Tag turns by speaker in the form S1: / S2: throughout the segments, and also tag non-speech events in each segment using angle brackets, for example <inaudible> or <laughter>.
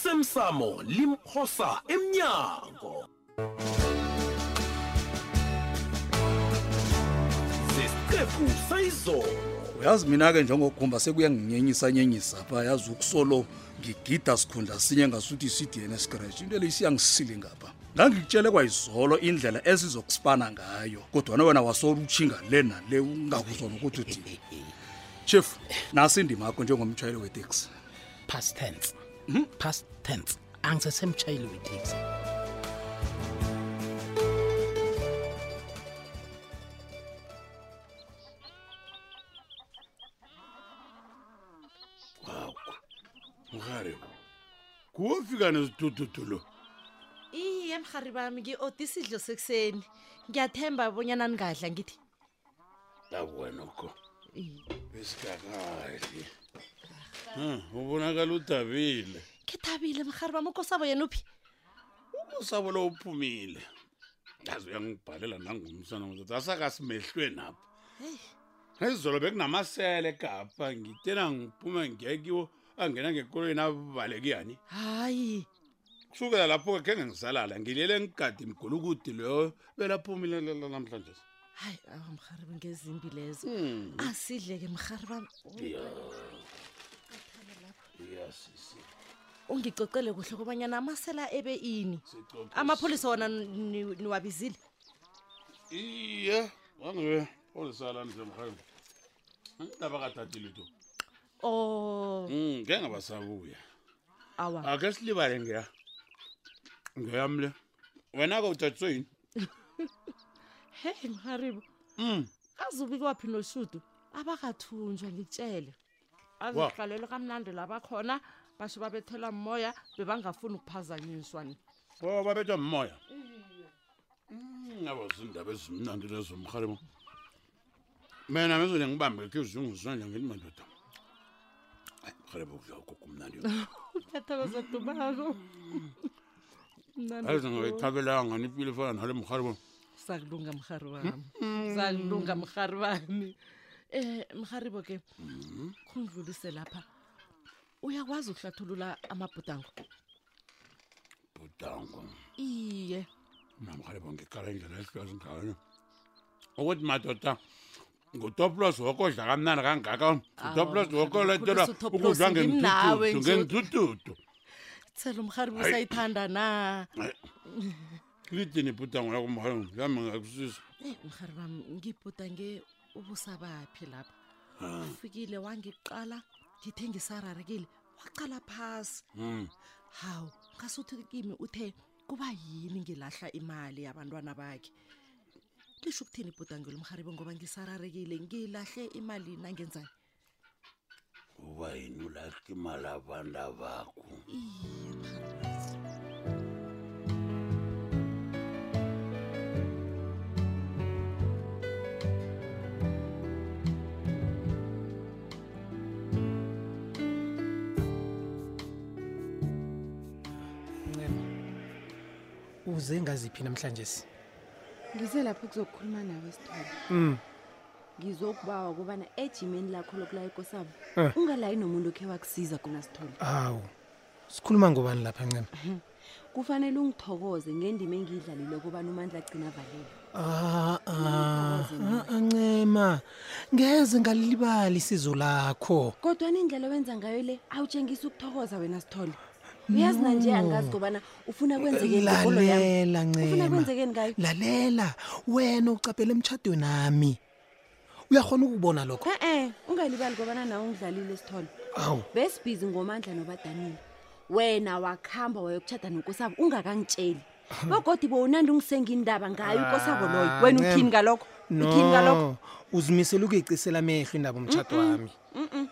S1: osemsamo limphosa emnyango zesiqephu sayizolo
S2: uyazi mina-ke njengogumba sekuyanginyenyisa nyenyisa pha yazi ukusolo ngigida sikhundla sinye ngasuthi i-cdn scratch into leyi siyangisile ngapha ngangikutshele kwayizolo indlela esizokusipana ngayo kodwana wena wasola utshinga le nale ungakuzona ukuthi uthini chief nasi indima yakho njengomtshayeli weteksi
S3: past tense Hmm? past tense angisesemtshayeli weteksi
S4: mrhari kuwofika nesidududulo
S5: iye mhari bami oh, ngi-ode isidlo sekuseni ngiyathemba bonyana ningadla ngithi
S4: awenoko besikakadli ubonakala udabile
S5: ngithabile mhari bami ukosabo yena uphi
S4: usabo lo uphumile yazi uyangibhalela nangumsana mtata asakasimehlwe napha
S5: heyi
S4: ezolo bekunamasele kapha ngitena ngiphuma ngiyekiwo angena ngekolweni abaleke yani
S5: hayi
S4: kusukela lapho-ke khe ngengisalala ngilele ngigadi mgulukudi loyo belaphumile namhlanje
S5: hayi awa mhari bami ngezimbi lezo asidle-ke mhari bami
S4: yasisi
S5: ungicocele kuhle kobanyana amasela ebe ini amapholisa wona ni- niwabizile
S4: iye wangiwe olisalani semhani indaba katati lito
S5: o
S4: Mm, ngeke ngabasabuya
S5: Oh, awa
S4: ake silibale ngeya ngeyamle wena-ke utatiswe yini
S5: heyi mharibo
S4: Mm.
S5: azubikwaphi noshudu abakathunjwa ngitshele
S4: Wa.
S5: azihlalele kamnandi labakhona basho babethelwa moya bebangafuni ukuphazanyiswa ni
S4: o babethwa mmoya abo zindaba ezimnandi lezo mhalimo mina mezole ngibambe khe zingizwanja ngithi madoda hayi mhalimo kudlako kumnandi
S5: uyathokoza dumako
S4: ayize ngayithabelanga nipile fana nale mhalimo
S5: sakulunga mhari wami sakulunga mhari wami um mharibo ke khundlulise lapha uyakwazi ukuhlathulula amabhudango
S4: budango
S5: iye
S4: namhalimo ngiqala indlela esihlwazi ngayo ukuthi madoda ngutoplos wokodla kamnandi kangaka utoplos wokoletela
S5: ukhulisa utoplos,
S4: ukudla
S5: ngimnawe
S4: ngendududu
S5: nje.
S4: ngendududu
S5: thela umharibo
S4: Hayi.
S5: usayithanda na
S4: lidini ibhudango lakho mhalimo yami ngakusiza
S5: eyi Eh, mhari wami ngibhuda nge ubusabaphi lapha ufikile wangiqala ngithe ngisararekile waqala phasi
S4: Mm.
S5: hawu ngasuthi kimi uthe kuba yini ngilahla imali yabantwana bakhe lisho ukuthini ibhudangelo mharibo ngoba ngisararekile ngilahle imali nangenzani
S4: uba yini ulahla imali abantu abakho
S5: iye mharibo
S3: uze ngaziphi namhlanje si
S6: ngise lapho kuzokukhuluma nawe sithole
S3: Mm.
S6: ngizokubawa ukubana ejimeni lakho lokulayeko sabo
S3: Eh.
S6: ungalayi nomuntu okhe wakusiza khona sithole
S3: hawu sikhuluma ngobani lapha ncema
S6: kufanele ungithokoze ngendima engiyidlalile okubana umandla agcina avalele
S3: Ah, ah, ah, ancema ngeze ngalilibali isizo lakho
S6: kodwa nindlela owenza ngayo le awutshengisa ukuthokoza wena sithole uyazi nanje angazi ngobana ufuna kwenzekeni ngekolo yami
S3: lalela
S6: ufuna
S3: ncema
S6: kwenzekeni ngayo
S3: lalela wena ucaphele emtshadweni nami uyakhona ukubona lokho
S6: e-e ungalibali kobana nawe ungidlalile sithole
S3: awu
S6: besibhizi ngomandla nobadanile wena wakuhamba wayokutshada nokosabo ungakangitsheli bogodi bowunandi ungisengindaba ngayo ukosabo loyo
S3: Ah,
S6: wena
S3: Ncema.
S6: uthini ngalokho uthini ngalokho
S3: no uzimisele ukuyicisela amehlo indaba umtshato wami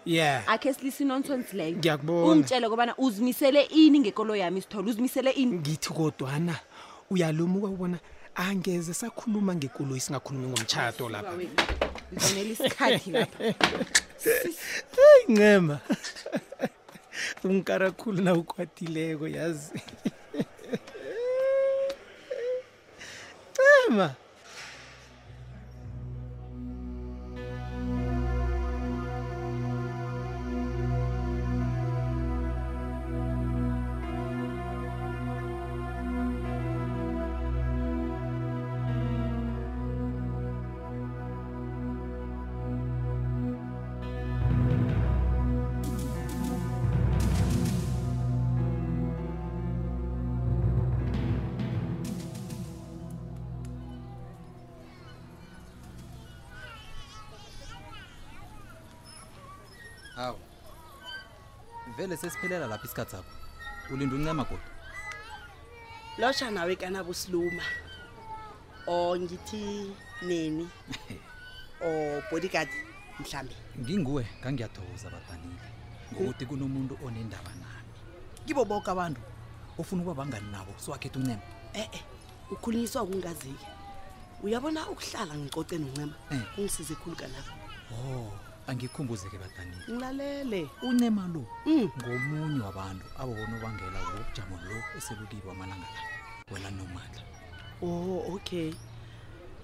S3: yeah
S6: akhe silisa inonsons leyo
S3: Ngiyakubona.
S6: ungitshele kobana uzimisele ini ngekolo yami sithole uzimisele ini
S3: ngithi kodwana uyalumuka ubona angeze sakhuluma ngekoloyi singakhulumi ngomtshato lapha
S6: ngifanele isikhathi lapha
S3: heyi <laughs> ncema ungikarakhulu na ukwatileko yazi ncema
S2: vele sesiphelela lapha isikhathi sakho ulinde uncema goda
S5: lotsha nawe kanabusiluma or ngithi neni or bodyguard mhlambe
S2: nginguwe ngangiyathokoza badanile ngokuthi kunomuntu onendaba nami kibo boke abantu ofuna ukuba bangani nabo siwakhetha uncema
S5: e-e ukhulunyiswa kungazike uyabona ukuhlala ngicoce noncema
S2: Eh.
S5: kungisize khulu kanabo
S2: o angikhumbuzeke badanile
S5: ngilalele
S2: uncema lo
S5: Mm.
S2: ngomunye wabantu abobonobangela wobujamo lo eselukibo amalanga la wena nomandla
S5: o Oh, okay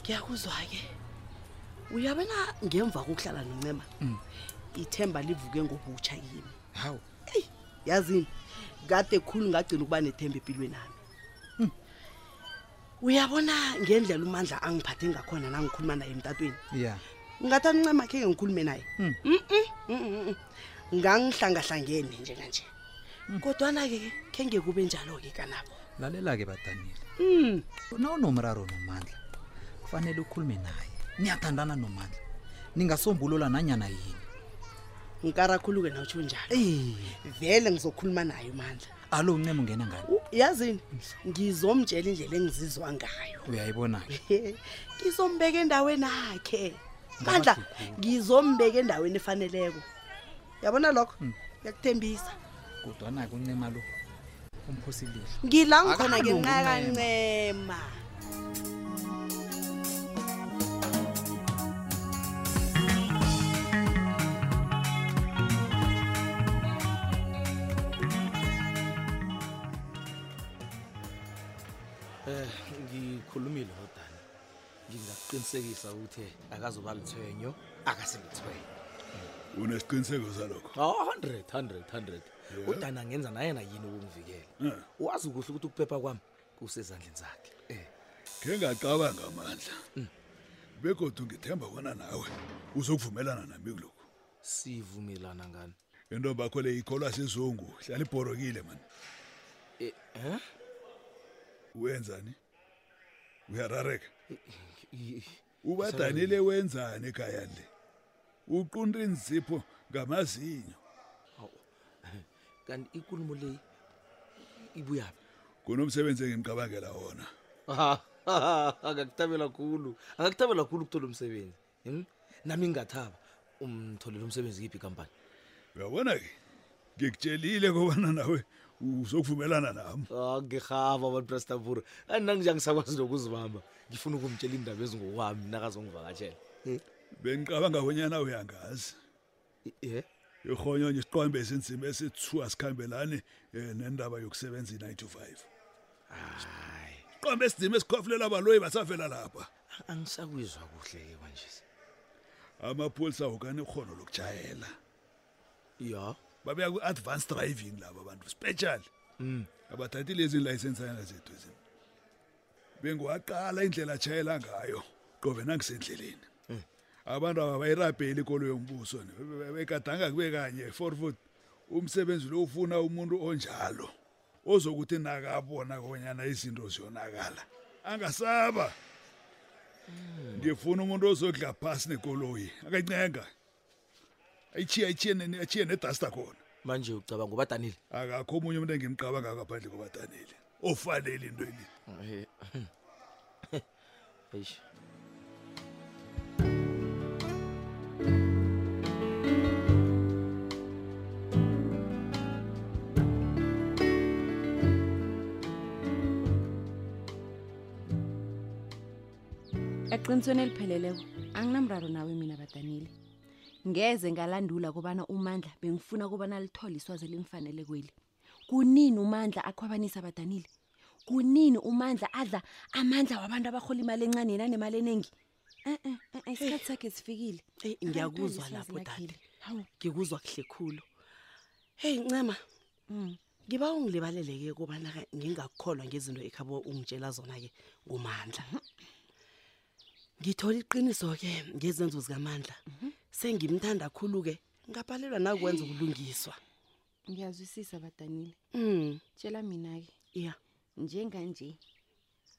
S5: ngiyakuzwa-ke uyabona ngemva kokuhlala noncema ithemba livuke ngobutsha kimi
S2: hawu
S5: yazini kade khulu ngagcina ukuba nethemba empilweni nami uyabona ngendlela umandla angiphathe ngakhona nangikhuluma naye emtatweni
S2: ya
S5: ngathi ancema khe ngikhulume naye
S2: Mm.
S5: Mm-mm, mm-mm. ngangihlangahlangene njenganje kodwana-ke khe ngekube njalo-ke kanabo
S2: lalela-ke badanile na unomraro nomandla kufanele ukhulume naye niyathandana nomandla ningasombulula nanyana yini
S5: ngikarakhulu-ke nawutsho njalo
S2: eyi
S5: vele ngizokhuluma naye umandla
S2: alo uncema ungena ngani
S5: U- yazini ngizomtshela indlela engizizwa ngayo
S2: uyayibona-ke
S5: ngizombeka endaweni akhe bandla
S2: Ngamadukhulu.
S5: ngizombeka endaweni efaneleko yabona lokho ngiyakuthembisa
S2: kodwana-ke uncema lo umphosilile
S5: ngila ngikhona
S2: Akahambi ngokuncema.
S5: ngenxa kancema
S7: Eh, ngikhulumile nodani ngingakuqinisekisa ukuthi akazoba lithwenyo akasilithwenyo
S4: unesiqiniseko salokho
S7: Oh, 100 100 100 udani angenza nayena yini ukungivikela wazi kuhle ukuthi ukuphepha kwami kusezandleni zakhe Eh,
S4: khe ngacabanga amandla begodwa ngithemba kona nawe uzokuvumelana nami kulokhu
S7: sivumelana ngani
S4: into bakho le ikholwa sizungu hlala ibhorokile mani
S7: Eh, eh?
S4: wenzani uyarareka
S7: I- i-
S4: ubadanile wenzani ekhayani le uqunta inzipho ngamazinyo
S7: kanti ikulumo leyi ibuyaphi
S4: kunomsebenzi engimcabangela wona
S7: <laughs> angakuthabela khulu angakuthabela khulu ukuthola umsebenzi Hmm? nami ngingathaba Um, umtholele umsebenzi kiphi ikampani
S4: uyabona-ke ngikutshelile kobana nawe uzokuvumelana nami
S7: Ah, ngirhaba abantu prastapura andinanje angisakwazi nokuzibamba ngifuna ukumtshela iindaba ezingokwami nakazongivakatshela
S4: bengiqabanga bonyana uyangazi
S7: ye
S4: irhonyonye isiqwambe esinzima esithiwa sikhambelani um nendaba yokusebenza i-9 to 5 isiqwambe esinzima esikhofulela abaloyi basavela lapha
S7: angisakwizwa kuhle-ke kwanjesi
S4: amapholisa awukanekhono lokujayela
S7: ya
S4: babeya ku-advance driving laba bantu special abathathi lezi layisensi yana zethu ezim bengiwaqala indlela ajayela ngayo qobe nangisendleleni abantu ababayirabheli ikolo yombuso ni, be- be- begadanga kube kanye four foot umsebenzi lo ufuna umuntu onjalo ozokuthi nakabona kobanyana izinto ziyonakala angasaba ngifuna umuntu ozodla phasi nekoloyi akancenga ayichiye ayichiye ne- ne- achiye nedasta khona
S7: manje ucabanga ubadanile
S4: akakho omunye umuntu engimqabanga ngaphandle kobadaneli ofanele into eli
S7: <laughs> eish
S6: eqinisweni elipheleleko anginamraro nawe mina badanile ngeze ngalandula kobana umandla bengifuna kobana lithole iswazi elimfanele kweli kunini umandla akhwabanisa badanile kunini umandla adla amandla wabantu abarhola imali encane yena nemali eningi e-e e-e, isikhathi sakhe sifikile
S5: eyi Eh.
S6: Abantu
S5: ngiyakuzwa
S6: elisazi
S5: lapho
S6: lakhile.
S5: dade
S6: hawu
S5: ngikuzwa kuhle khulu heyi ncema
S6: Mm.
S5: ngiba ungilibaleleke kobana ngingakukholwa ngezinto ekhabo ungitshela zona-ke kumandla ngithole iqiniso-ke ngezenzo zikamandla sengimthanda khulu-ke ngabhalelwa nakwenza ukulungiswa
S6: ngiyazwisisa badanile
S5: um
S6: tshela mina-ke
S5: iya
S6: njenganje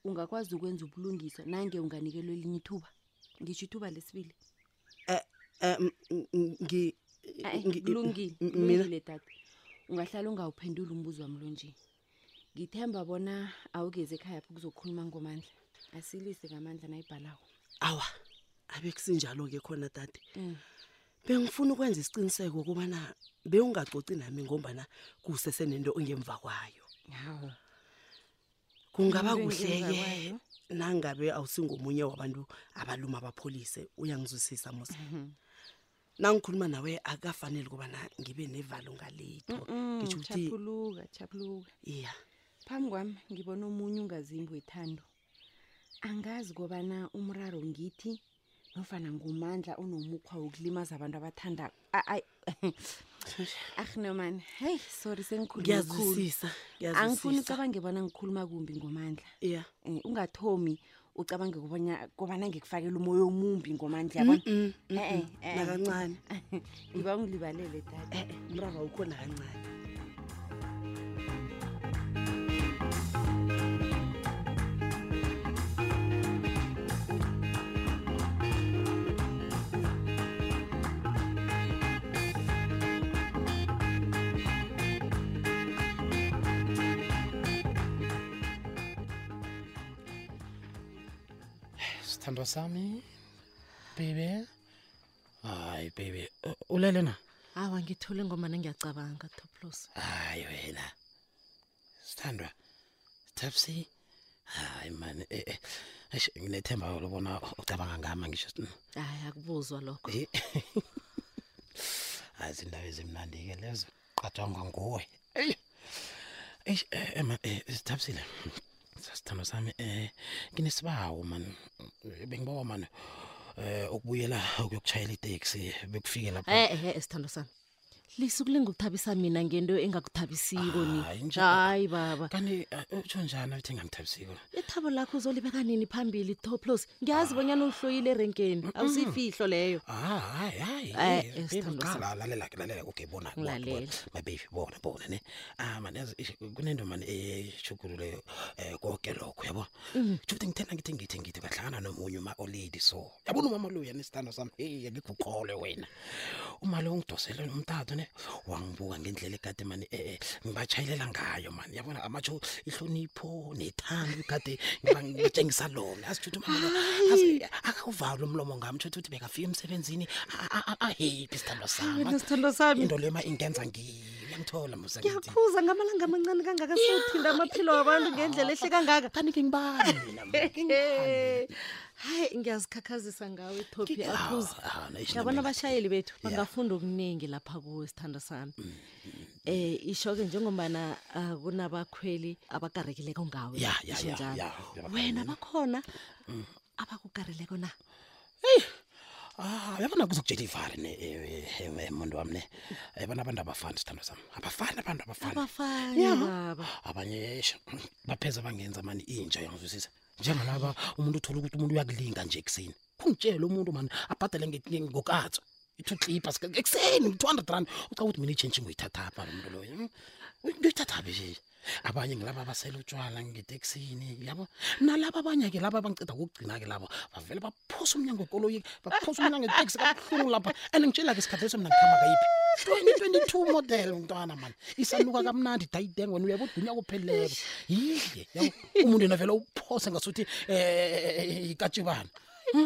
S6: ungakwazi ukwenza ubulungiswa nange unganikelwa elinye ithuba ngitsho ithuba lesibili
S5: um
S6: Ayi, kulungile
S5: mina
S6: kulungile Eh, tata ungahlala ungawuphendula umbuzo wami lo nje ngithemba bona awukeze ekhaya pho kuzokhuluma ngomandla asilise ngamandla nayibhalako
S5: awa abe kusinjalo-ke khona dade
S6: Mm.
S5: bengifuna ukwenza isiqiniseko ukubana bewungacoci nami ngombana kusesenento ongemva kwayo
S6: hawo
S5: kungaba
S6: Into engemva
S5: kuhle-ke
S6: kwayo.
S5: nangabe awusingomunye wabantu abaluma abapholise uyangizwisisa musa nangikhuluma nawe akukafanele ukubana ngibe nevalo ngalitho ngitsho ukuthi
S6: chaphuluka chaphuluka
S5: iya
S6: phambi kwami ngibona omunye ungazimbi wethando angazi kobana umraro ngithi nofana ngumandla onomukhwa wokulimaza abantu abathandako A- <laughs> ay- ah noman heyi sorry sengikhuluma khulu
S5: ngiyazwisisa
S6: angifuni
S5: ngiyazwisisa
S6: ucabange bona ngikhuluma kumbi ngomandla
S5: iya
S6: um ungathomi ucabange kobana- kobana ngikufakela umoya omumbi ngomandla yabona Eh, eh, eh.
S5: nakancane
S6: ngiba ungilibalele dada
S8: Eh,
S5: umrava ukho nakancane
S7: sithandwa sami bebe hayi bebe u- ulele na
S8: awa ngithole ngomana ngiyacabanga toplos
S7: hayi wena sithandwa tapsy hayi mani eh, eh, eish, nginethemba lobona ucabanga ngama ngisho
S8: hayi akubuzwa lokho
S7: Eh. hayi zindaba ezimnandi-ke lezo qajangwa nguwe Eish. eish eh, eh, ma- eh, sithabisile sasithando sami um nginesibawo mani Eh, bengibawa mani um ukubuyela ukuyokutshayela iteksi bekufike lapho
S5: Eh,
S8: e-e Eh, sithando sami lisukulinga ukuthabisa mina ngento engakuthabisiko ni
S7: Hayi, njalo.
S8: hayi baba
S7: kanti eh, utsho njani ukuthi ngangithabisiko
S8: ithabo lakho uzolibeka nini phambili toplos
S5: Ah.
S8: ngiyazi bonyana uhloyile erenkeni awusiyifihlo leyo
S7: Ah, hayi
S8: Eh,
S7: hayi
S8: eh, sithandwa sami.
S7: lalela lalela okay bona bona,
S8: Ngilalela.
S7: bona. my baby bona bona ne ah man yazi ish- kunento eh, mani eshugululeyo um konke lokho yabo tsho ukuthi ngithena ngithi ngithi ngithi ngahlangana nomunye uma olady so yabona umama lo yena isithandwa sami heyi angikho ukhole wena uma lo ngidosele umtato ne wangibuka ngendlela egade mani um ngibatshayelela ngayo mani yabona amatsho ihlonipho nethando egade ngiba- ngibatshengisa lona yazi tsho ukuthi umama akawuvali umlomo ngami tsho ukuthi bekafika emsebenzini ahephi isithandwa sami
S8: wena sithando sami
S7: into lema ingenza ngiyangithola musa
S8: ngiyakhuza ngamalanga amancane kangaka sewuthinda amaphilo wabantu ngendlela ehle kangaka
S7: kanti ngingibani mina mina? Ngingibani?
S8: hayi ngiyazikhakhazisa ngawe etopi akhuza
S7: Ah, ah, naishi
S8: yabona
S7: mina.
S8: abashayeli bethu bangafunda okuningi lapha kuwe sithando sami
S7: Mm,
S8: eh isho-ke njengombana ah, kunabakhweli abakarekileko ngawe
S7: Ya, ya,
S8: ngisho
S7: ya,
S8: njalo.
S7: ya, ya,
S8: wena bakhona
S7: Mm.
S8: abakukareleko na
S7: Ah, yabona kuzokutshela ivari ne eh, eh, eh, muntu wami ne yabona abantu abafani sithando sami abafani abantu abafani
S8: abafani baba
S7: abanye eish, <clears throat> bapheza bangenza mani intsha yangizwisisa njengalaba umuntu uthola ukuthi umuntu uyakulinga nje ekuseni kungitshele umuntu mani abhadale nge- nge- ngokatso i-two clippers ekuseni two hundred rand ucaba ukuthi mina itshentshi ngoyithathapha lo muntu loyo mm. ngiyoyithathaphi nje abanye ngilaba abasele utshwala ngeteksini yabo nalaba abanye-ke laba abangiceda kokugcina-ke labo bavele baphosa umnyango ekoloyi baphosa umnyango eteksi kabuhlungu lapha and ngitshela-ke isikhathi leso mina ngihamba kayiphi 2022 model mntwana mani isanuka kamnandi dayideng wena uyabodunya kupheleleko yidle yabo umuntu yena vele uphose ngasuthi eh, um ikatshibana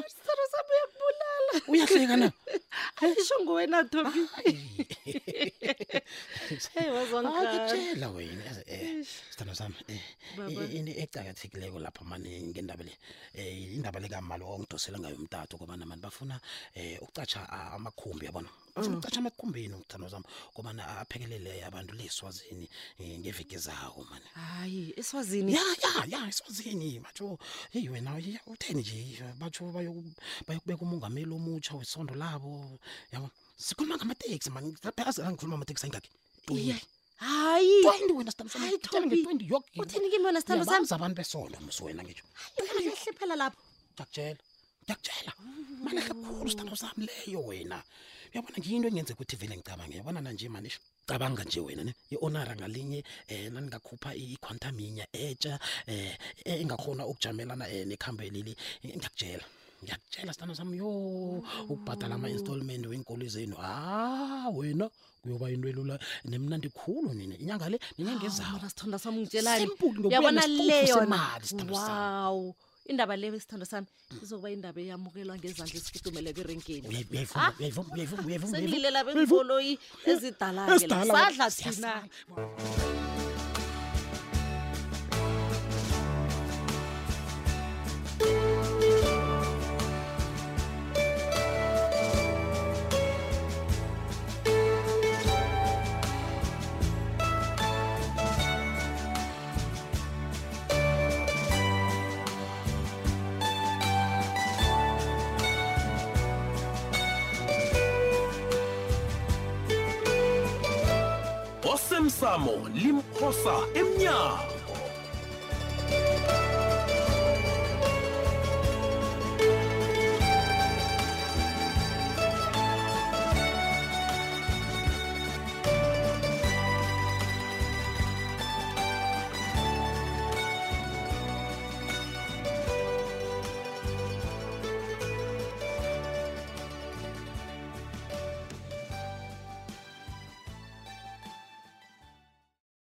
S8: sithando sami uyakubulala
S7: uyahleka na
S8: ayisho ngowena topi hey wazwangikhaya
S7: akutshela wena yazi, eh, sithando sami eh,
S8: Baba.
S7: i- into ecakathekileko lapha mani ngendaba le um indaba lekamali ongidosela ngayo umtato kobana mani bafuna um ukucatsha a- amakhumbi yabona bafuna ukucatsha amakhumbini umthando zami kobana aphekelele abantu le eswazini um ngeveki zawo mani
S8: hayi eswazini
S7: ya ya ya eswazini batsho eyi wena ya, utheni nje batsho bayoku- bayokubeka umongameli omutsha wesondo labo yabo sikhuluma ngamateksi mani phela ngikhuluma ngamateksi ayingakhi
S8: Iya. hayi
S7: twenty wena
S8: Hayi, Tobi.
S7: sitamtwenty yoke
S8: uthini kimi wena sithando sami
S7: abantu besondo msi wena ngitsho
S8: hlephela lapho
S7: ngiyakutshela ngiyakutshela malehle khulu sithando sami leyo wena uyabona ngiyinto engenze ukuthi vele ngicabange yabona nanje mani eish, cabanga nje wena ne i-onara ngalinye um naningakhupha i-quantum inye etsha um engakhona ukujamelana um nekhambe leli ngiyakutshela Ah, ngiyakutshela sithando sami yo ukubhadala ama-installment wey'nkolo zenu ha wena
S3: Ah, kuyoba into elula nemnandi khulu nina inyanga le nenyanga ezawo
S5: sithonda sami ngitshelani
S3: Simple, ngiyokubuyela
S5: yabona
S3: ngesiquphu
S5: le
S3: semali,
S5: yona
S3: sithandwa sami.
S5: wow indaba leyo isithando sami izokuba indaba e eyamukelwa ngezandla esifudumeleko erenkeni
S3: Uyayi- uyayivuma,
S5: Ah,
S3: uyayivuma, uyayivuma, uyayivuma,
S5: sengilela
S3: uyayivuma, uyayivuma.
S5: bengikoloyi ezidala-ke la.
S3: Ezidala,
S5: sadla
S3: siyasa-
S5: thina
S2: osemsamo limphosa emnyango